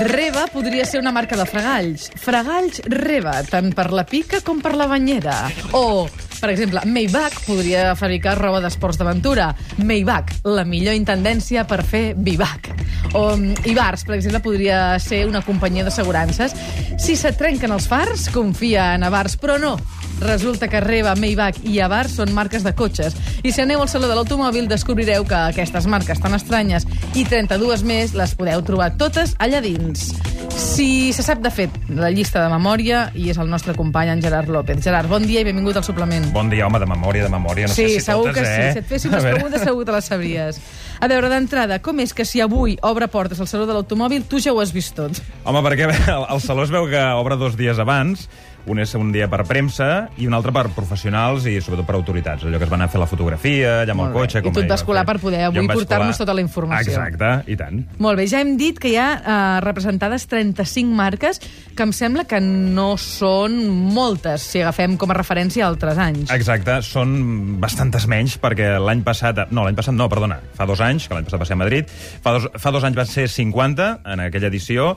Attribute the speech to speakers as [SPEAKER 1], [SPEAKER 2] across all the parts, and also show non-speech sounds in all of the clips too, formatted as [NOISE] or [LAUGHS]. [SPEAKER 1] Reba podria ser una marca de fregalls. Fregalls Reba, tant per la pica com per la banyera. O, per exemple, Maybach podria fabricar roba d'esports d'aventura. Maybach, la millor intendència per fer vivac. O mm, Ibars, per exemple, podria ser una companyia d'assegurances. Si se trenquen els fars, confia en Avars, però no. Resulta que Reba, Maybach i Avar són marques de cotxes. I si aneu al Saló de l'Automòbil descobrireu que aquestes marques tan estranyes i 32 més les podeu trobar totes allà dins. Si se sap, de fet, la llista de memòria i és el nostre company, en Gerard López. Gerard, bon dia i benvingut al suplement.
[SPEAKER 2] Bon dia, home, de memòria, de memòria. No
[SPEAKER 1] sí,
[SPEAKER 2] sé si
[SPEAKER 1] segur
[SPEAKER 2] totes,
[SPEAKER 1] que sí.
[SPEAKER 2] eh?
[SPEAKER 1] Si et fessin les
[SPEAKER 2] A veure.
[SPEAKER 1] preguntes, segur que te les sabries. A veure, d'entrada, com és que si avui obre portes al Saló de l'Automòbil, tu ja ho has vist tot?
[SPEAKER 2] Home, perquè el, el Saló es veu que obre dos dies abans, un és un dia per premsa i un altre per professionals i sobretot per autoritats, allò que es van a fer la fotografia, allà amb
[SPEAKER 1] Molt
[SPEAKER 2] el
[SPEAKER 1] bé. I
[SPEAKER 2] cotxe...
[SPEAKER 1] tu et
[SPEAKER 2] ahir
[SPEAKER 1] vas
[SPEAKER 2] va
[SPEAKER 1] colar
[SPEAKER 2] fer.
[SPEAKER 1] per poder avui
[SPEAKER 2] Jo em vaig
[SPEAKER 1] portar-nos
[SPEAKER 2] colar.
[SPEAKER 1] tota la informació.
[SPEAKER 2] Exacte, i tant.
[SPEAKER 1] Molt bé, ja hem dit que hi ha eh, representades 35 marques, que em sembla que no són moltes, si agafem com a referència altres anys.
[SPEAKER 2] Exacte, són bastantes menys, perquè l'any passat... No, l'any passat no, perdona, fa dos anys, que l'any passat va ser a Madrid, fa dos, fa dos anys van ser 50, en aquella edició,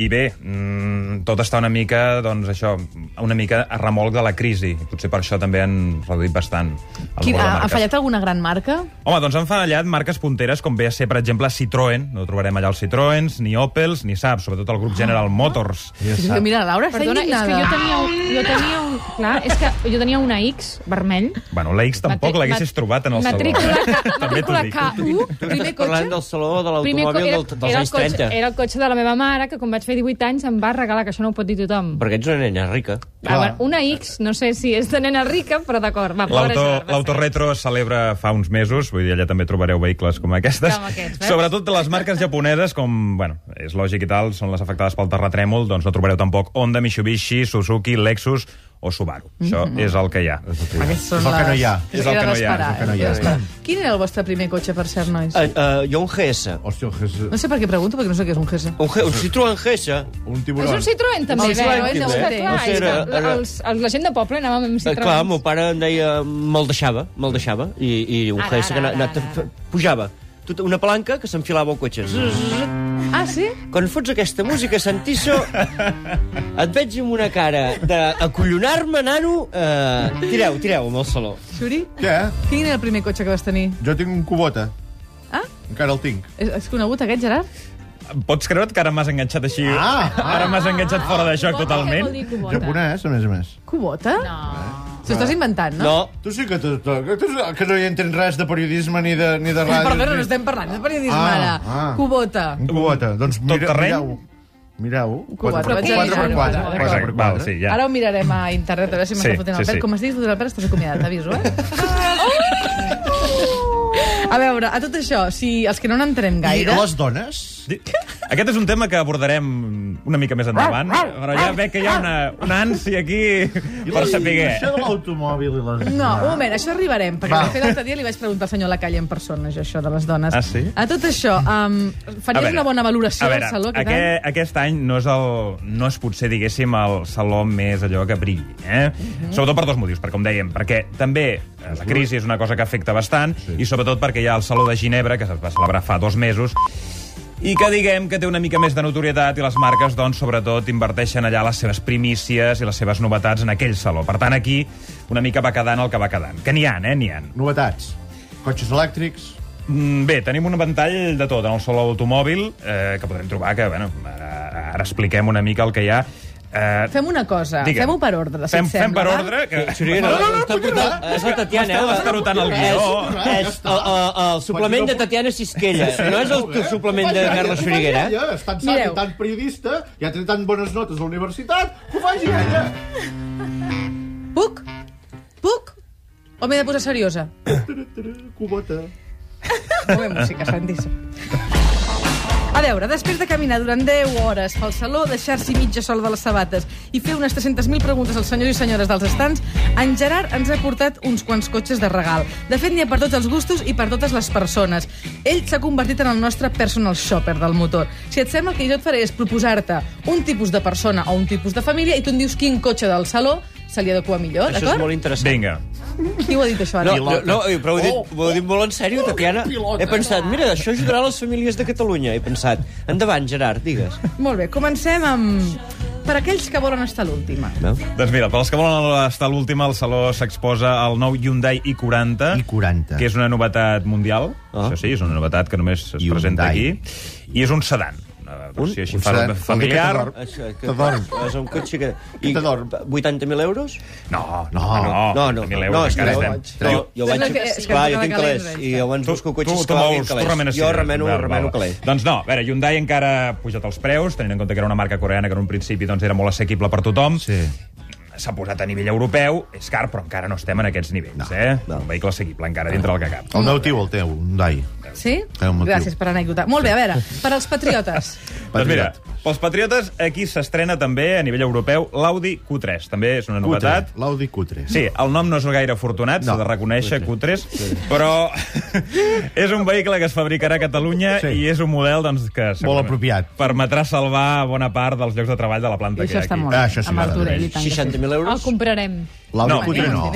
[SPEAKER 2] i bé, mmm, tot està una mica, doncs això, una mica a remolc de la crisi. Potser per això també han reduït bastant el
[SPEAKER 1] Quin,
[SPEAKER 2] número de
[SPEAKER 1] ha, ha
[SPEAKER 2] marques.
[SPEAKER 1] fallat alguna gran marca?
[SPEAKER 2] Home, doncs han fallat marques punteres com ve a ser, per exemple, Citroën. No trobarem allà els Citroëns, ni Opels, ni Saab, sobretot el
[SPEAKER 1] Ah.
[SPEAKER 2] grup General Motors.
[SPEAKER 1] Sí, sí, mira, la Laura està
[SPEAKER 3] Perdona, és que
[SPEAKER 1] indignada.
[SPEAKER 3] jo tenia, un, jo tenia un... Clar, és que jo tenia una X vermell.
[SPEAKER 2] Bueno, la X tampoc
[SPEAKER 3] Matri-
[SPEAKER 2] l'haguessis
[SPEAKER 3] mat-
[SPEAKER 2] trobat en el
[SPEAKER 3] matrícula K-
[SPEAKER 2] saló. [LAUGHS] També t'ho
[SPEAKER 3] matrícula
[SPEAKER 2] dic.
[SPEAKER 3] K1, primer
[SPEAKER 4] Estic
[SPEAKER 3] cotxe.
[SPEAKER 4] Parlant del saló de
[SPEAKER 3] Primer co-
[SPEAKER 4] l'automòbil
[SPEAKER 3] era,
[SPEAKER 4] del, dels
[SPEAKER 3] era, el
[SPEAKER 4] anys 30.
[SPEAKER 3] cotxe, era el cotxe de la meva mare, que quan vaig fer 18 anys em va regalar, que això no ho pot dir tothom.
[SPEAKER 4] Perquè ets una nena rica.
[SPEAKER 3] Va, bueno, una X, no sé si és de nena rica, però d'acord. va, pobra
[SPEAKER 2] L'auto-
[SPEAKER 3] Gerard, va,
[SPEAKER 2] L'autoretro es celebra fa uns mesos, vull dir, allà també trobareu vehicles com aquestes.
[SPEAKER 3] Com aquests, veus?
[SPEAKER 2] Sobretot de les marques japoneses, com, bueno, és lògic i tal, són les afectades pel terratrèmol, doncs no trobareu tampoc Honda, Mitsubishi, Suzuki, Lexus o Subaru. Això
[SPEAKER 3] Mhm.
[SPEAKER 2] és el que hi ha.
[SPEAKER 1] Aquests són
[SPEAKER 5] És el que no hi ha.
[SPEAKER 2] És el que no hi ha,
[SPEAKER 1] d'esperar,
[SPEAKER 2] és el que
[SPEAKER 5] no hi ha.
[SPEAKER 1] eh? d'esperar. Quin era el vostre primer cotxe, per cert, nois?
[SPEAKER 4] Uh, uh, hi ha un GS.
[SPEAKER 5] Hòstia, que és
[SPEAKER 1] No sé per què pregunto, perquè no sé què és un GS.
[SPEAKER 4] Un, G- Eh, un Citroën GS.
[SPEAKER 5] un
[SPEAKER 3] És
[SPEAKER 5] tiburón.
[SPEAKER 3] un Citroën, també. eh?
[SPEAKER 1] Un Citroën,
[SPEAKER 3] veu? és que,
[SPEAKER 1] també.
[SPEAKER 3] clar,
[SPEAKER 1] No
[SPEAKER 4] sé,
[SPEAKER 3] és
[SPEAKER 4] era-
[SPEAKER 3] que
[SPEAKER 4] era-
[SPEAKER 3] els, els, la gent de poble anàvem amb
[SPEAKER 4] Eh, clar,
[SPEAKER 3] Citroën.
[SPEAKER 4] mon pare em deia... Me'l deixava, me'l deixava. I, i un
[SPEAKER 3] Ara,
[SPEAKER 4] GS que
[SPEAKER 3] ara,
[SPEAKER 4] na, na,
[SPEAKER 3] ara, ara.
[SPEAKER 4] pujava. Tot una palanca que s'enfilava al cotxe. Zzz, zzz, zzz.
[SPEAKER 1] Ah, sí?
[SPEAKER 4] Quan fots aquesta música, Santiso, et veig amb una cara d'acollonar-me, nano. Uh, tireu, tireu amb el saló.
[SPEAKER 1] Xuri?
[SPEAKER 5] Què?
[SPEAKER 1] Quin era el primer cotxe que vas tenir?
[SPEAKER 5] Jo tinc un Kubota.
[SPEAKER 1] Ah?
[SPEAKER 5] Encara el tinc.
[SPEAKER 1] És, és conegut aquest, Gerard?
[SPEAKER 2] Pots creure't que ara m'has enganxat així?
[SPEAKER 5] Ah!
[SPEAKER 2] Ara m'has enganxat fora de joc
[SPEAKER 3] Què
[SPEAKER 2] totalment?
[SPEAKER 3] vol dir Kubota?
[SPEAKER 5] Japonès, a més a més.
[SPEAKER 1] Cubota? No. S'ho estàs inventant, no?
[SPEAKER 4] No,
[SPEAKER 5] Tu sí que, tu, tu, tu, que no hi entens res de periodisme ni de, ni de ràdio.
[SPEAKER 1] Perdona, no
[SPEAKER 5] ni-
[SPEAKER 1] estem parlant de periodisme
[SPEAKER 5] Ah,
[SPEAKER 1] ara.
[SPEAKER 5] ah.
[SPEAKER 1] Cubota.
[SPEAKER 5] Un Kubota. Doncs
[SPEAKER 2] Tot
[SPEAKER 5] mira,
[SPEAKER 2] terreny?
[SPEAKER 5] mireu. Mireu.
[SPEAKER 1] Kubota, vaig a
[SPEAKER 5] 4x4.
[SPEAKER 1] mirar-ho, vaig a
[SPEAKER 5] 4x4.
[SPEAKER 2] Exacte, val, sí, ja.
[SPEAKER 1] Ara ho mirarem a internet, a veure si m'està
[SPEAKER 2] Sí,
[SPEAKER 1] fotent el
[SPEAKER 2] sí,
[SPEAKER 1] pèl.
[SPEAKER 2] sí.
[SPEAKER 1] Com es diu, fotent el pèl, estàs acomiadat, t'aviso, eh? A veure, a tot això, si els que no n'entenem
[SPEAKER 5] I
[SPEAKER 1] gaire...
[SPEAKER 5] les dones?
[SPEAKER 2] Di- Aquest és un tema que abordarem una mica més endavant, però ja veig que hi ha una, una ànsia aquí per
[SPEAKER 5] Això
[SPEAKER 2] saber.
[SPEAKER 5] de l'automòbil i les...
[SPEAKER 1] No, un moment, això arribarem, perquè
[SPEAKER 5] Va.
[SPEAKER 1] de fet l'altre dia li vaig preguntar al senyor a la calle en persona, jo, això de les dones.
[SPEAKER 2] Ah, sí?
[SPEAKER 1] A tot això, um, faries una bona valoració
[SPEAKER 2] a veure,
[SPEAKER 1] del saló aquest
[SPEAKER 2] aquest, aquest any no és, el, no és potser, diguéssim, el saló més allò que brilli, eh?
[SPEAKER 1] Mhm.
[SPEAKER 2] Sobretot per dos motius, perquè, com dèiem, perquè també eh, la crisi és una cosa que afecta bastant i sobretot perquè hi ha el Saló de Ginebra, que es va celebrar fa dos mesos, i que diguem que té una mica més de notorietat i les marques, doncs, sobretot, inverteixen allà les seves primícies i les seves novetats en aquell saló. Per tant, aquí una mica va quedant el que va quedant. Que n'hi ha, eh? N'hi ha.
[SPEAKER 5] Novetats. Cotxes elèctrics.
[SPEAKER 2] Mm, Bé, tenim un ventall de tot en el saló automòbil, eh, que podrem trobar, que bueno, ara, ara expliquem una mica el que hi ha. Eh,
[SPEAKER 1] Fem una cosa, fem-ho per ordre, si
[SPEAKER 2] fem,
[SPEAKER 1] et sembla.
[SPEAKER 2] Fem per
[SPEAKER 1] va?
[SPEAKER 2] ordre. Que...
[SPEAKER 4] Xuriguera, no, no, no, Eh, està portant... És la Tatiana, eh?
[SPEAKER 2] M'estava notant el guió.
[SPEAKER 4] És, és el, el, el suplement de Tatiana Sisquella. No és el, el suplement de Carles Xuriguera. eh?
[SPEAKER 5] Ja, és tan
[SPEAKER 1] savi,
[SPEAKER 5] savi,
[SPEAKER 1] Mireu. tan
[SPEAKER 5] tan periodista, ja té tan bones notes a la universitat, que ho faci ella.
[SPEAKER 1] Puc? Puc? O m'he de posar seriosa?
[SPEAKER 5] Cubota.
[SPEAKER 1] Molt bé, música, santíssim. A veure, després de caminar durant 10 hores pel saló, deixar-s'hi mitja sola de les sabates i fer unes 300.000 preguntes als senyors i senyores dels estants, en Gerard ens ha portat uns quants cotxes de regal. De fet, n'hi ha per tots els gustos i per totes les persones. Ell s'ha convertit en el nostre personal shopper del motor. Si et sembla, el que jo et faré és proposar-te un tipus de persona o un tipus de família i tu em dius quin cotxe del saló se li adequa millor,
[SPEAKER 4] Això és
[SPEAKER 1] d'acord?
[SPEAKER 4] molt interessant.
[SPEAKER 2] Vinga.
[SPEAKER 1] Qui ho ha dit, això, ara?
[SPEAKER 4] No, no, no, però ho he dit, ho he dit molt en sèrio, Tatiana.
[SPEAKER 5] pilota.
[SPEAKER 4] He pensat, mira, això ajudarà les famílies de Catalunya. He pensat, endavant, Gerard, digues.
[SPEAKER 1] Molt bé, comencem amb... Per aquells que volen estar l'última.
[SPEAKER 4] No?
[SPEAKER 2] Doncs mira, pels que volen estar a l'última, el Saló s'exposa al nou Hyundai i40.
[SPEAKER 6] i40.
[SPEAKER 2] Que és una novetat mundial.
[SPEAKER 4] Ah.
[SPEAKER 2] Això sí, és una novetat que només es
[SPEAKER 6] Hyundai.
[SPEAKER 2] presenta aquí. I és un sedan. Una versió així fa- familiar.
[SPEAKER 4] Això, que
[SPEAKER 6] Te dorm.
[SPEAKER 4] És un cotxe que... I
[SPEAKER 6] Te dorm.
[SPEAKER 4] 80.000 euros?
[SPEAKER 2] No, no,
[SPEAKER 6] No.
[SPEAKER 2] no.
[SPEAKER 4] no, no,
[SPEAKER 2] 1.000 Oh, euros,
[SPEAKER 4] és que
[SPEAKER 2] encara
[SPEAKER 4] jo,
[SPEAKER 2] estem.
[SPEAKER 4] no, jo
[SPEAKER 1] Tu
[SPEAKER 4] vaig...
[SPEAKER 1] no tens-
[SPEAKER 4] Esclar,
[SPEAKER 1] que
[SPEAKER 4] jo
[SPEAKER 1] no
[SPEAKER 4] tinc
[SPEAKER 1] calés
[SPEAKER 4] calés.
[SPEAKER 1] res,
[SPEAKER 4] I
[SPEAKER 1] clar.
[SPEAKER 4] abans
[SPEAKER 2] Tu-
[SPEAKER 4] busco
[SPEAKER 2] tu-
[SPEAKER 4] cotxes
[SPEAKER 2] tu
[SPEAKER 4] que valguin
[SPEAKER 2] vols- tu
[SPEAKER 4] calés.
[SPEAKER 2] remenes
[SPEAKER 4] Jo
[SPEAKER 2] cireres,
[SPEAKER 4] remeno,
[SPEAKER 2] val,
[SPEAKER 4] remeno
[SPEAKER 2] val.
[SPEAKER 4] calés.
[SPEAKER 2] Doncs no, a veure, Hyundai encara ha pujat els preus, tenint en compte que era una marca coreana que en un principi doncs, era molt assequible per tothom.
[SPEAKER 6] Sí.
[SPEAKER 2] S'ha posat a nivell europeu, és car, però encara no estem en aquests nivells, no, eh?
[SPEAKER 4] no.
[SPEAKER 2] Un vehicle assequible, encara, dintre del que cap.
[SPEAKER 6] El meu tio, el teu, un dai.
[SPEAKER 1] Sí?
[SPEAKER 6] Té un motiu.
[SPEAKER 1] Gràcies per l'anècdota. Molt bé, a veure, per als
[SPEAKER 6] [LAUGHS]
[SPEAKER 1] patriotes.
[SPEAKER 2] Doncs mira, pels patriotes, aquí s'estrena també, a nivell europeu, l'Audi Q3. També és una
[SPEAKER 6] Cutre,
[SPEAKER 2] novetat.
[SPEAKER 6] l'Audi Cutre.
[SPEAKER 2] Sí, el nom no és gaire afortunat, s'ha
[SPEAKER 6] No.
[SPEAKER 2] de reconèixer, Q3, però [LAUGHS] és un vehicle que es fabricarà a Catalunya
[SPEAKER 6] Sí.
[SPEAKER 2] i és un model doncs, que segurament
[SPEAKER 6] apropiat.
[SPEAKER 2] permetrà salvar bona part dels llocs de treball de la planta
[SPEAKER 1] I
[SPEAKER 2] que hi
[SPEAKER 1] això
[SPEAKER 2] ha
[SPEAKER 1] està
[SPEAKER 2] aquí.
[SPEAKER 1] molt
[SPEAKER 6] Ah,
[SPEAKER 1] bé.
[SPEAKER 6] això sí,
[SPEAKER 1] amb el
[SPEAKER 6] m'agrada.
[SPEAKER 1] Turell i tant. que sí. Ah,
[SPEAKER 4] 60.000
[SPEAKER 3] El
[SPEAKER 4] euros?
[SPEAKER 3] comprarem.
[SPEAKER 6] L'Audi
[SPEAKER 2] No,
[SPEAKER 6] Cutre no.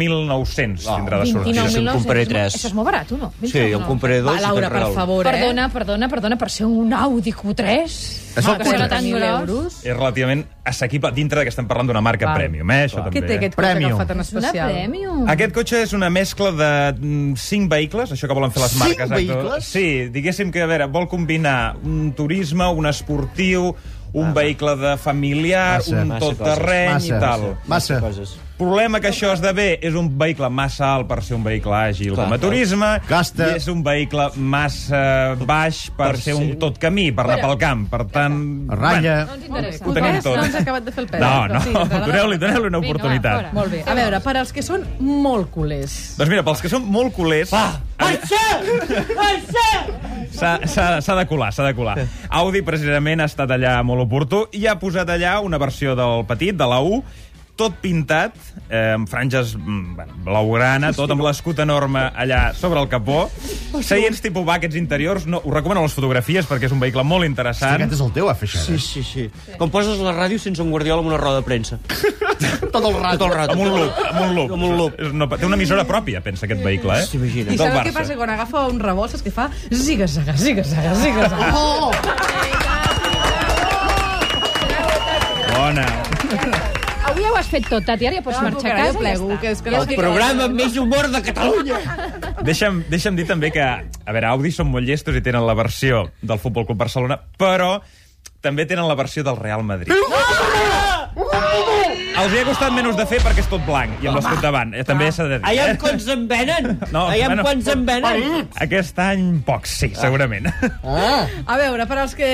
[SPEAKER 2] 29.900
[SPEAKER 1] Oh.
[SPEAKER 2] tindrà de sortida.
[SPEAKER 3] 29.900.
[SPEAKER 4] en compraré tres.
[SPEAKER 3] Això és molt barat, o no?
[SPEAKER 4] Sí, jo en compraré dos
[SPEAKER 1] Va,
[SPEAKER 4] i te'n
[SPEAKER 1] Laura, per
[SPEAKER 4] regalo.
[SPEAKER 1] favor, eh?
[SPEAKER 3] Perdona, perdona, perdona, per ser un Audi Q3?
[SPEAKER 6] És
[SPEAKER 3] Home,
[SPEAKER 6] el
[SPEAKER 3] que serà
[SPEAKER 6] Q3.
[SPEAKER 3] tan
[SPEAKER 1] 30.000
[SPEAKER 3] gros.
[SPEAKER 1] euros.
[SPEAKER 2] És relativament assequible dintre de que estem parlant d'una marca
[SPEAKER 1] Val.
[SPEAKER 2] premium, eh? Això
[SPEAKER 1] Què
[SPEAKER 2] també.
[SPEAKER 1] té aquest cotxe que
[SPEAKER 6] Premium.
[SPEAKER 1] el fa tan
[SPEAKER 3] És una
[SPEAKER 1] especial?
[SPEAKER 3] premium.
[SPEAKER 2] Aquest cotxe és una mescla de 5 vehicles, això que volen fer les
[SPEAKER 6] Cinc
[SPEAKER 2] marques. actor.
[SPEAKER 6] vehicles?
[SPEAKER 2] Sí, diguéssim que, a veure, vol combinar un turisme, un esportiu, un vehicle de familiar,
[SPEAKER 6] Massa.
[SPEAKER 2] un
[SPEAKER 6] Massa
[SPEAKER 2] tot terreny i tal.
[SPEAKER 6] Massa.
[SPEAKER 4] Coses.
[SPEAKER 2] Problema que això esdevé és un vehicle massa alt per ser un vehicle àgil
[SPEAKER 4] Clar,
[SPEAKER 2] com a
[SPEAKER 4] clar.
[SPEAKER 2] turisme
[SPEAKER 6] Gasta.
[SPEAKER 2] i és un vehicle massa baix per,
[SPEAKER 4] Per
[SPEAKER 2] ser
[SPEAKER 4] ser-
[SPEAKER 2] un tot camí, per anar pel camp. Per tant...
[SPEAKER 6] Ratlla.
[SPEAKER 3] No ens
[SPEAKER 1] Molt bé,
[SPEAKER 3] interessa.
[SPEAKER 2] Ho tenim
[SPEAKER 1] Q3
[SPEAKER 2] tot.
[SPEAKER 1] no ens ha acabat de fer el pèl.
[SPEAKER 2] Bueno,
[SPEAKER 1] però
[SPEAKER 2] no,
[SPEAKER 1] sí,
[SPEAKER 2] no,
[SPEAKER 1] ens agrada.
[SPEAKER 2] [LAUGHS] doneu-li doneu una
[SPEAKER 3] Vinga, va,
[SPEAKER 2] oportunitat.
[SPEAKER 3] fora.
[SPEAKER 1] Molt bé, a veure, per als que són molt culers.
[SPEAKER 2] doncs mira, pels que són molt culers... Va! S'ha- S'ha s'ha de colar, s'ha de colar. Audi, precisament, ha estat allà molt oportú i ha posat allà una versió del petit, de la U, tot pintat, eh, amb franges mm, bueno, blaugrana, tot amb l'escut enorme allà sobre el capó. Seients tipus vaquets interiors, no, us recomano les fotografies perquè és un vehicle molt interessant.
[SPEAKER 6] Aquest és el teu, ha fet
[SPEAKER 4] Sí, sí, sí. Com poses la ràdio sense un guardiola amb una roda de premsa. [LAUGHS] Tot el rato. Tot el rato.
[SPEAKER 2] Amb un loop, amb un loop.
[SPEAKER 4] Amb un loop.
[SPEAKER 2] És una, té una emissora pròpia, pensa, aquest vehicle, eh?
[SPEAKER 4] T'imagines?
[SPEAKER 1] I
[SPEAKER 2] Del
[SPEAKER 1] sabeu què
[SPEAKER 2] Barça.
[SPEAKER 1] passa? Quan agafa un rebost és que fa ziga-zaga, ziga-zaga, ziga-zaga. Oh!
[SPEAKER 2] Bona.
[SPEAKER 3] Avui ja ho has fet tot, Tati, ara ja pots marxar a casa i ja
[SPEAKER 1] plego,
[SPEAKER 3] està.
[SPEAKER 1] que és que
[SPEAKER 4] El programa amb més humor de Catalunya.
[SPEAKER 2] Deixa'm, deixa'm dir també que, a veure, Audi són molt llestos i tenen la versió del Futbol Club Barcelona, però també tenen la versió del Real Madrid. Els hi ha costat menys de fer perquè és tot blanc i amb l'escut davant. Eh, També s'ha de dir.
[SPEAKER 4] Allà amb quants en venen.
[SPEAKER 2] No,
[SPEAKER 4] Allà amb
[SPEAKER 2] bueno.
[SPEAKER 4] quants en venen.
[SPEAKER 2] Aquest any, pocs, sí, segurament.
[SPEAKER 1] A veure, per als que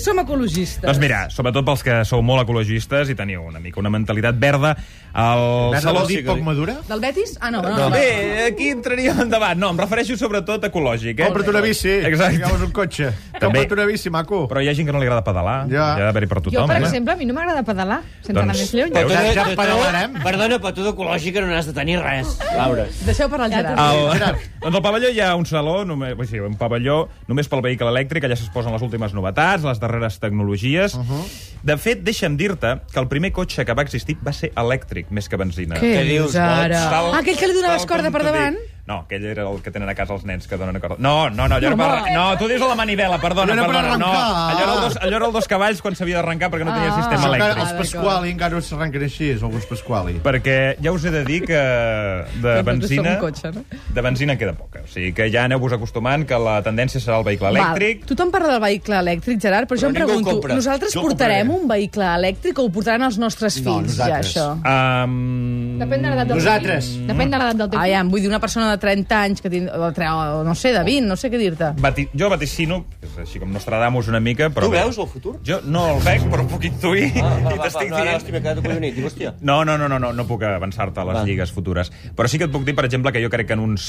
[SPEAKER 1] som ecologistes.
[SPEAKER 2] Doncs mira, sobretot pels que sou molt ecologistes i teniu una mica una mentalitat verda, el
[SPEAKER 6] Verda
[SPEAKER 2] Saló
[SPEAKER 6] vol dir poc madura?
[SPEAKER 1] Del Betis? Ah, no, no. no, no.
[SPEAKER 2] Bé, aquí entraria en debat. No, em refereixo sobretot a ecològic, eh?
[SPEAKER 6] Compra't una bici.
[SPEAKER 2] Exacte.
[SPEAKER 6] Ficaves un cotxe.
[SPEAKER 2] També.
[SPEAKER 6] Compra't una bici, maco.
[SPEAKER 2] Però hi ha gent que no li agrada pedalar.
[SPEAKER 6] Ja.
[SPEAKER 2] Hi ha d'haver-hi per tothom.
[SPEAKER 3] Jo, per
[SPEAKER 2] eh?
[SPEAKER 3] exemple, a mi no m'agrada pedalar, sense
[SPEAKER 2] Doncs-
[SPEAKER 3] anar més lluny.
[SPEAKER 2] Veus?
[SPEAKER 6] Ja- ja
[SPEAKER 4] tu-
[SPEAKER 6] parlarem.
[SPEAKER 4] Perdona, però tu d'ecològica no n'has de tenir res, Laura.
[SPEAKER 1] Deixeu parlar el Eh, Gerard.
[SPEAKER 2] El, [LAUGHS] doncs al pavelló hi ha un saló, només, vull dir, un pavelló només pel vehicle elèctric, allà s'exposen les últimes novetats, les darreres tecnologies. Uh
[SPEAKER 1] Uh-huh.
[SPEAKER 2] -huh. De fet, deixa'm dir-te que el primer cotxe que va existir va ser elèctric, més que benzina.
[SPEAKER 4] Què dius,
[SPEAKER 1] ara?
[SPEAKER 4] boig?
[SPEAKER 2] Tal-
[SPEAKER 1] Ah, aquell que li donaves
[SPEAKER 2] tal com
[SPEAKER 1] corda per
[SPEAKER 2] t'ho dic.
[SPEAKER 1] davant?
[SPEAKER 2] No, aquell era el que tenen a casa els nens que donen corda. No, no, no, allò era per... No, tu dius a la manivela, perdona,
[SPEAKER 6] Allò era per
[SPEAKER 2] perdona. No,
[SPEAKER 6] arrencar.
[SPEAKER 2] allò era, el dos, allò era el dos cavalls quan s'havia d'arrencar perquè no tenia
[SPEAKER 3] Ah.
[SPEAKER 2] sistema
[SPEAKER 6] Això encara,
[SPEAKER 2] elèctric.
[SPEAKER 6] els Pasquali encara s'arrenquen així, alguns Pasquali.
[SPEAKER 2] Perquè ja us he de dir que de
[SPEAKER 1] Però nosaltres som
[SPEAKER 2] benzina...
[SPEAKER 1] un cotxe, no?
[SPEAKER 2] De benzina en queda poca. O sigui que ja aneu-vos acostumant que la tendència serà el vehicle elèctric.
[SPEAKER 1] Val. Tothom parla del vehicle elèctric, Gerard, però, jo
[SPEAKER 4] Però
[SPEAKER 1] em
[SPEAKER 4] ningú el
[SPEAKER 1] pregunto,
[SPEAKER 4] compra.
[SPEAKER 1] nosaltres
[SPEAKER 6] Jo el
[SPEAKER 1] portarem
[SPEAKER 6] compraré.
[SPEAKER 1] un vehicle elèctric o ho portaran els nostres
[SPEAKER 6] No,
[SPEAKER 1] fills, ja,
[SPEAKER 6] nosaltres.
[SPEAKER 1] això?
[SPEAKER 2] Um...
[SPEAKER 3] Depèn de l'edat del
[SPEAKER 6] Nosaltres.
[SPEAKER 3] fill. Depèn de l'edat del teu
[SPEAKER 1] Ah,
[SPEAKER 3] fill.
[SPEAKER 1] ja, em vull dir una persona de 30 anys que tind... o de tre- o no sé, de 20, no sé què dir-te.
[SPEAKER 2] Vati... Jo vaticino, que és així com Nostradamus una mica, però...
[SPEAKER 4] Tu
[SPEAKER 2] bé.
[SPEAKER 4] veus el futur?
[SPEAKER 2] Jo no el veig, però puc intuir
[SPEAKER 4] Ah, Va, va,
[SPEAKER 2] i
[SPEAKER 4] va, va,
[SPEAKER 2] t'estic
[SPEAKER 4] no, no,
[SPEAKER 2] dient...
[SPEAKER 4] hòstia, m'he quedat acollonit. Dic, hòstia.
[SPEAKER 2] No, no, no, no, no, no puc avançar-te a les
[SPEAKER 4] Va.
[SPEAKER 2] lligues futures. Però sí que et puc dir, per exemple, que jo crec que en uns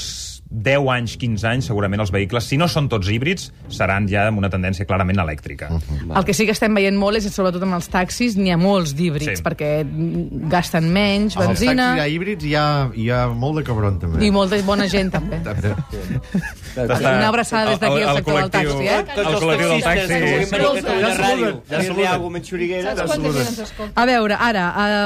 [SPEAKER 2] 10 anys, 15 anys, segurament els vehicles, si no són tots híbrids, seran ja amb una tendència clarament elèctrica.
[SPEAKER 4] Mm.
[SPEAKER 2] Uh -huh.
[SPEAKER 1] El que sí que estem veient molt és, sobretot amb els taxis, n'hi ha molts d'híbrids,
[SPEAKER 2] Sí.
[SPEAKER 1] perquè mm, gasten menys,
[SPEAKER 6] Ah, Els taxis
[SPEAKER 1] benzina...
[SPEAKER 6] hi ha híbrids i hi ha, hi ha molt de cabron, també.
[SPEAKER 1] I molta bona bona gent, també.
[SPEAKER 2] T'està-
[SPEAKER 1] Una abraçada des d'aquí al
[SPEAKER 2] el- el
[SPEAKER 1] sector del
[SPEAKER 2] col·lectiu-
[SPEAKER 1] taxi, eh?
[SPEAKER 4] Tots
[SPEAKER 2] El
[SPEAKER 4] els
[SPEAKER 2] col·lectiu del
[SPEAKER 4] taxistes que vulguin
[SPEAKER 2] taxi...
[SPEAKER 4] venir a Catalunya
[SPEAKER 6] Saluden,
[SPEAKER 4] Ràdio,
[SPEAKER 6] saluden,
[SPEAKER 4] dir-li
[SPEAKER 6] saluden.
[SPEAKER 4] alguna mentxoriguera...
[SPEAKER 3] Saps quanta gent ens escolta?
[SPEAKER 1] A veure, ara,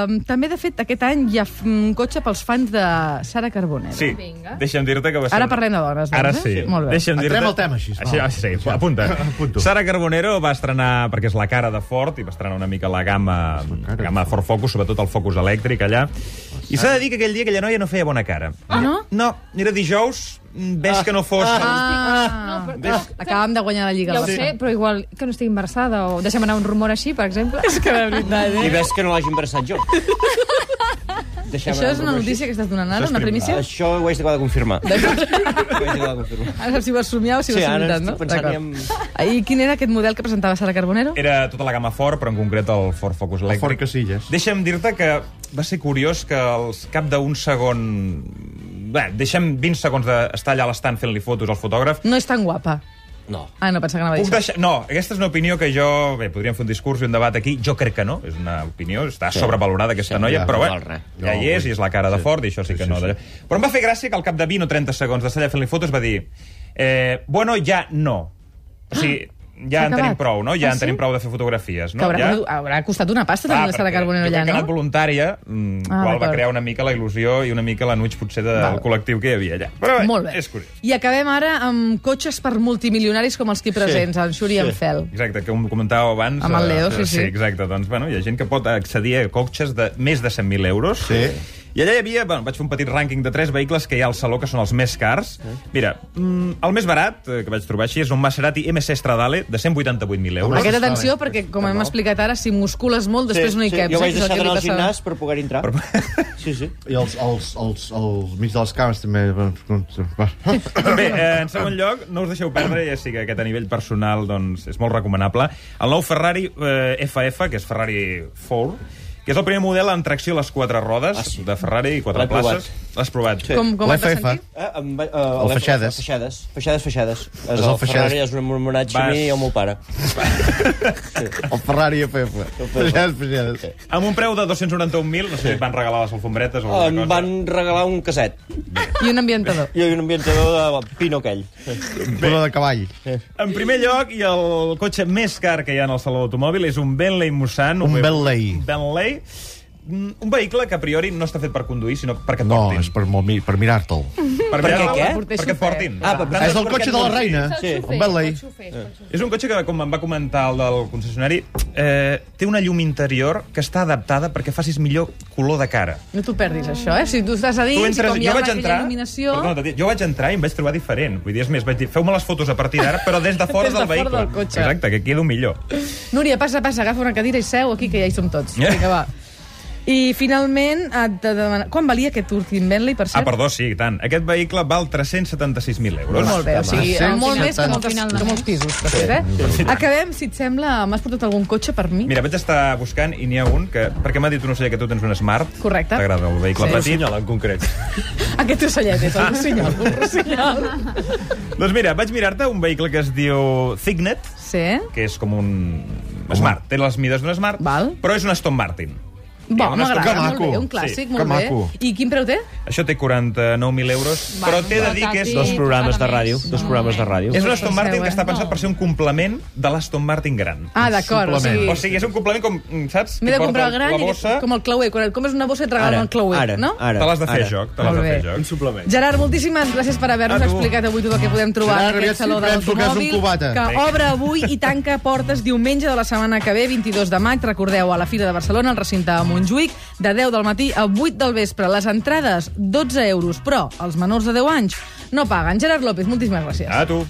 [SPEAKER 1] eh, també, de fet, aquest any hi ha un cotxe pels fans de Sara Carbonell.
[SPEAKER 2] Sí,
[SPEAKER 3] Vinga.
[SPEAKER 2] deixa'm dir-te que va ser...
[SPEAKER 1] Ara parlem de dones, doncs,
[SPEAKER 2] Ara
[SPEAKER 1] eh?
[SPEAKER 2] sí.
[SPEAKER 1] Molt bé.
[SPEAKER 2] Deixa'm dir-te-
[SPEAKER 6] Entrem al tema així, va.
[SPEAKER 2] Sí, ah, sí, sí, apunta.
[SPEAKER 6] Apunto.
[SPEAKER 2] Sara Carbonero va estrenar, perquè és la cara de Ford, i va estrenar una mica la gamma, la gamma Ford Focus, sobretot el Focus elèctric allà. I s'ha de dir que aquell dia aquella noia no feia bona cara.
[SPEAKER 1] Ah, no?
[SPEAKER 2] No, era dijous, mm, ves que no fos...
[SPEAKER 1] Ah,
[SPEAKER 3] No, però-
[SPEAKER 1] acabem de guanyar la Lliga.
[SPEAKER 3] Ja ho
[SPEAKER 1] la
[SPEAKER 3] sé, però igual que no estigui embarassada o deixem anar un rumor així, per exemple. És que de veritat,
[SPEAKER 4] I ves que no l'hagi embarassat
[SPEAKER 1] [LAUGHS]
[SPEAKER 4] jo. Deixa'm
[SPEAKER 1] Això és una
[SPEAKER 4] anar-ho
[SPEAKER 1] notícia que estàs donant ara, una
[SPEAKER 4] així.
[SPEAKER 1] primícia?
[SPEAKER 4] Això ho haig d'acabar de confirmar. Ho haig d'acabar de confirmar.
[SPEAKER 1] Ara si ho vas somiar o si ho
[SPEAKER 4] Sí,
[SPEAKER 1] vas
[SPEAKER 4] ara
[SPEAKER 1] imitar,
[SPEAKER 4] estic
[SPEAKER 1] no?
[SPEAKER 4] pensant
[SPEAKER 1] D'acord. I quin era aquest model que presentava Sara Carbonero?
[SPEAKER 2] Era tota la gamma Ford, però en concret el Ford Focus elèctric.
[SPEAKER 6] Ford Casillas.
[SPEAKER 2] Deixa'm dir-te que va ser curiós que als cap d'un segon... Bé, deixem 20 segons d'estar allà a l'estant fent-li fotos al fotògraf.
[SPEAKER 1] No és tan guapa.
[SPEAKER 4] No.
[SPEAKER 1] Ah, no, pensava que anava a dir
[SPEAKER 2] Puc
[SPEAKER 1] això.
[SPEAKER 2] deixar... No, aquesta és una opinió que jo... Bé, podríem fer un discurs i un debat aquí. Jo crec que no, és una opinió, està sobrevalorada aquesta
[SPEAKER 4] Sí,
[SPEAKER 2] noia,
[SPEAKER 4] ja,
[SPEAKER 2] però
[SPEAKER 4] no
[SPEAKER 2] bé,
[SPEAKER 4] val res.
[SPEAKER 2] ja
[SPEAKER 6] No,
[SPEAKER 2] hi és, i
[SPEAKER 6] vull-
[SPEAKER 2] és la cara de
[SPEAKER 6] sí.
[SPEAKER 2] Ford, i això sí
[SPEAKER 6] Sí,
[SPEAKER 2] que
[SPEAKER 6] sí,
[SPEAKER 2] no...
[SPEAKER 6] sí.
[SPEAKER 2] d'allò. Però em va fer gràcia que al cap de 20 o 30 segons d'estar allà fent-li fotos va dir... Eh, bueno, ja no. O sigui, ja
[SPEAKER 1] s'ha
[SPEAKER 2] en tenim
[SPEAKER 1] acabat.
[SPEAKER 2] prou, no?
[SPEAKER 1] Ah,
[SPEAKER 2] Ja en
[SPEAKER 1] sí?
[SPEAKER 2] tenim prou de fer fotografies,
[SPEAKER 1] Que
[SPEAKER 2] no?
[SPEAKER 1] haurà,
[SPEAKER 2] Ja... Ah,
[SPEAKER 1] haurà costat una pasta tenir la Sara
[SPEAKER 2] perquè
[SPEAKER 1] Carbonero
[SPEAKER 2] jo crec
[SPEAKER 1] allà,
[SPEAKER 2] que ha anat
[SPEAKER 1] no?
[SPEAKER 2] voluntària,
[SPEAKER 1] Ah,
[SPEAKER 2] mm, ah, qual va
[SPEAKER 1] d'acord.
[SPEAKER 2] crear una mica la il·lusió i una mica l'anuig potser del
[SPEAKER 1] Val.
[SPEAKER 2] col·lectiu que hi havia allà. Però bé,
[SPEAKER 1] Molt bé.
[SPEAKER 2] és curiós.
[SPEAKER 1] I acabem ara amb cotxes per multimilionaris com els qui presents, en Xuri i en Fel.
[SPEAKER 2] Exacte, que ho comentàveu abans.
[SPEAKER 1] Amb el
[SPEAKER 2] eh,
[SPEAKER 1] Leo, sí,
[SPEAKER 2] eh,
[SPEAKER 1] sí.
[SPEAKER 2] Sí, exacte. Doncs, bueno, hi ha gent que pot accedir a cotxes de més de 100.000 euros.
[SPEAKER 6] Sí.
[SPEAKER 2] I allà hi havia, bueno, vaig fer un petit rànquing de tres vehicles que hi ha al saló, que són els més cars. Mira, mm, el més barat, eh, que vaig trobar així, és un Maserati MC Stradale de 188.000 euros.
[SPEAKER 1] Aquesta atenció, perquè, com hem explicat ara, si muscules molt, després no hi
[SPEAKER 4] jo
[SPEAKER 1] caps. eh, que
[SPEAKER 4] vaig
[SPEAKER 1] és el
[SPEAKER 4] deixar
[SPEAKER 1] que li
[SPEAKER 4] d'anar al
[SPEAKER 1] passa-
[SPEAKER 4] gimnàs per poder entrar. Sí, sí.
[SPEAKER 6] I els, els, els, els mig dels camps també... doncs,
[SPEAKER 2] Bé, eh, en segon lloc, no us deixeu perdre, ja sí que aquest a nivell personal doncs, és molt recomanable. El nou Ferrari eh, FF, que és Ferrari 4, que és el primer model amb tracció a les quatre rodes
[SPEAKER 4] Ah, sí.
[SPEAKER 2] de Ferrari i quatre
[SPEAKER 4] L'he provat.
[SPEAKER 2] places. L'has provat?
[SPEAKER 4] Sí.
[SPEAKER 1] Com, com et vas
[SPEAKER 6] L'FF.
[SPEAKER 1] sentir?
[SPEAKER 4] Eh, em va, eh,
[SPEAKER 6] El
[SPEAKER 4] l'he-
[SPEAKER 6] Feixades.
[SPEAKER 4] Feixades, Feixades, Feixades. És
[SPEAKER 6] el
[SPEAKER 4] el
[SPEAKER 6] Feixades.
[SPEAKER 4] Ferrari, és un homenatge a
[SPEAKER 2] Vas.
[SPEAKER 4] mi i al meu pare.
[SPEAKER 6] El Ferrari FF. Pagès, pagès.
[SPEAKER 2] Amb un preu de 291.000, no sé si et van regalar les alfombretes o
[SPEAKER 4] Em
[SPEAKER 2] alguna cosa.
[SPEAKER 4] van regalar un caset.
[SPEAKER 1] I un ambientador.
[SPEAKER 4] I un ambientador de pino aquell.
[SPEAKER 6] Puro de cavall.
[SPEAKER 2] En primer lloc, i el cotxe més car que hi ha en el saló d'automòbil és un Bentley Musan.
[SPEAKER 6] Un Bentley.
[SPEAKER 2] Bentley. Mm, Un vehicle que a priori no està fet per conduir, sinó perquè et
[SPEAKER 6] No,
[SPEAKER 2] portin.
[SPEAKER 6] és per, molt mi- per mirar-te'l.
[SPEAKER 2] Per,
[SPEAKER 4] Perquè
[SPEAKER 2] mirar-la,
[SPEAKER 4] què?
[SPEAKER 2] Perquè et portin.
[SPEAKER 4] Ah, per-
[SPEAKER 2] Tant
[SPEAKER 6] És el
[SPEAKER 2] perquè
[SPEAKER 6] cotxe
[SPEAKER 2] et
[SPEAKER 6] de la
[SPEAKER 2] portin.
[SPEAKER 6] reina.
[SPEAKER 4] Sí.
[SPEAKER 6] Un Bentlei.
[SPEAKER 2] És un cotxe que, com em va comentar el del concessionari, eh, té una llum interior que està adaptada perquè facis millor color de cara.
[SPEAKER 1] No t'ho perdis, això, eh? Si tu estàs a dins, i com hi ha aquella il·luminació...
[SPEAKER 2] perdona, t'ho dic, jo vaig entrar i em vaig trobar diferent. Vull dir, és més, vaig dir, feu-me les fotos a partir d'ara, però
[SPEAKER 1] [LAUGHS]
[SPEAKER 2] des de fora
[SPEAKER 1] Des de fora
[SPEAKER 2] del vehicle.
[SPEAKER 1] del cotxe.
[SPEAKER 2] Exacte, que quedo millor.
[SPEAKER 1] Núria, passa, passa, agafa una cadira i seu aquí, que ja hi som tots.
[SPEAKER 2] Ja.
[SPEAKER 1] Vinga, va. I finalment, et de demanar... Quan valia aquest últim Bentley, per
[SPEAKER 2] Ah,
[SPEAKER 1] cert?
[SPEAKER 2] perdó, sí, i tant. Aquest vehicle val 376.000 euros.
[SPEAKER 1] Molt bé, o sigui,
[SPEAKER 6] Home,
[SPEAKER 1] molt
[SPEAKER 6] sí,
[SPEAKER 1] més que
[SPEAKER 6] sí,
[SPEAKER 1] moltes,
[SPEAKER 3] sí.
[SPEAKER 1] que molts pisos, de fet, eh? Acabem, si et sembla, m'has portat algun cotxe per mi?
[SPEAKER 2] Mira, vaig estar buscant i n'hi ha un que... Perquè m'ha dit un ocell que tu tens un Smart.
[SPEAKER 1] Correcte.
[SPEAKER 2] T'agrada el vehicle
[SPEAKER 1] Sí.
[SPEAKER 2] petit. Rossinyol, en concret.
[SPEAKER 1] Aquest ocellet eh? és el rossinyol, un
[SPEAKER 2] [LAUGHS]
[SPEAKER 1] rossinyol.
[SPEAKER 2] doncs mira, vaig mirar-te un vehicle que es diu Cygnet,
[SPEAKER 1] Sí? eh?
[SPEAKER 2] que és com un Smart. Té les mides d'un Smart,
[SPEAKER 1] Val.
[SPEAKER 2] però és un Aston Martin.
[SPEAKER 1] Bo,
[SPEAKER 2] Que
[SPEAKER 1] m'agrada, molt
[SPEAKER 6] maco.
[SPEAKER 1] bé, un clàssic,
[SPEAKER 2] Sí,
[SPEAKER 1] molt
[SPEAKER 6] que
[SPEAKER 1] bé.
[SPEAKER 6] maco.
[SPEAKER 1] I quin preu té?
[SPEAKER 2] Això té 49.000 euros,
[SPEAKER 1] Val,
[SPEAKER 2] però t'he de dir que és...
[SPEAKER 3] Dos
[SPEAKER 2] Doncs,
[SPEAKER 3] programes de ràdio,
[SPEAKER 4] dos programes de ràdio.
[SPEAKER 2] és un
[SPEAKER 1] Sí,
[SPEAKER 2] Aston
[SPEAKER 1] sí, sí,
[SPEAKER 2] Martin que està
[SPEAKER 1] eh?
[SPEAKER 2] pensat per ser un complement de l'Aston Martin gran.
[SPEAKER 1] Ah, d'acord, o sigui...
[SPEAKER 2] O sigui, és un complement com, mm, saps?
[SPEAKER 1] M'he
[SPEAKER 2] Que
[SPEAKER 1] de comprar el
[SPEAKER 2] porta
[SPEAKER 1] gran
[SPEAKER 2] la
[SPEAKER 1] i
[SPEAKER 2] bossa,
[SPEAKER 1] com el clauer. Quan et compres una bossa et regalen el clauer,
[SPEAKER 4] ara,
[SPEAKER 1] no?
[SPEAKER 4] ara.
[SPEAKER 2] te l'has de fer
[SPEAKER 4] ara.
[SPEAKER 2] a joc, te l'has de
[SPEAKER 1] Molt
[SPEAKER 2] fer
[SPEAKER 1] bé.
[SPEAKER 2] a joc. Un suplement.
[SPEAKER 1] Gerard, moltíssimes gràcies per haver-nos
[SPEAKER 2] A tu.
[SPEAKER 1] explicat avui tot el que podem trobar
[SPEAKER 6] Gerard,
[SPEAKER 1] en aquest
[SPEAKER 6] aviat
[SPEAKER 1] Saló de
[SPEAKER 6] si penso que és un
[SPEAKER 1] l'Automòbil,
[SPEAKER 6] cubata.
[SPEAKER 1] que
[SPEAKER 2] Vinga.
[SPEAKER 1] obre avui i tanca portes diumenge de la setmana que ve, 22 de maig. Recordeu, a la Fira de Barcelona, al recinte de Montjuïc, de 10 del matí a 8 del vespre. Les entrades, 12 euros, però els menors de 10 anys no paguen. Gerard López, moltíssimes gràcies.
[SPEAKER 2] A tu.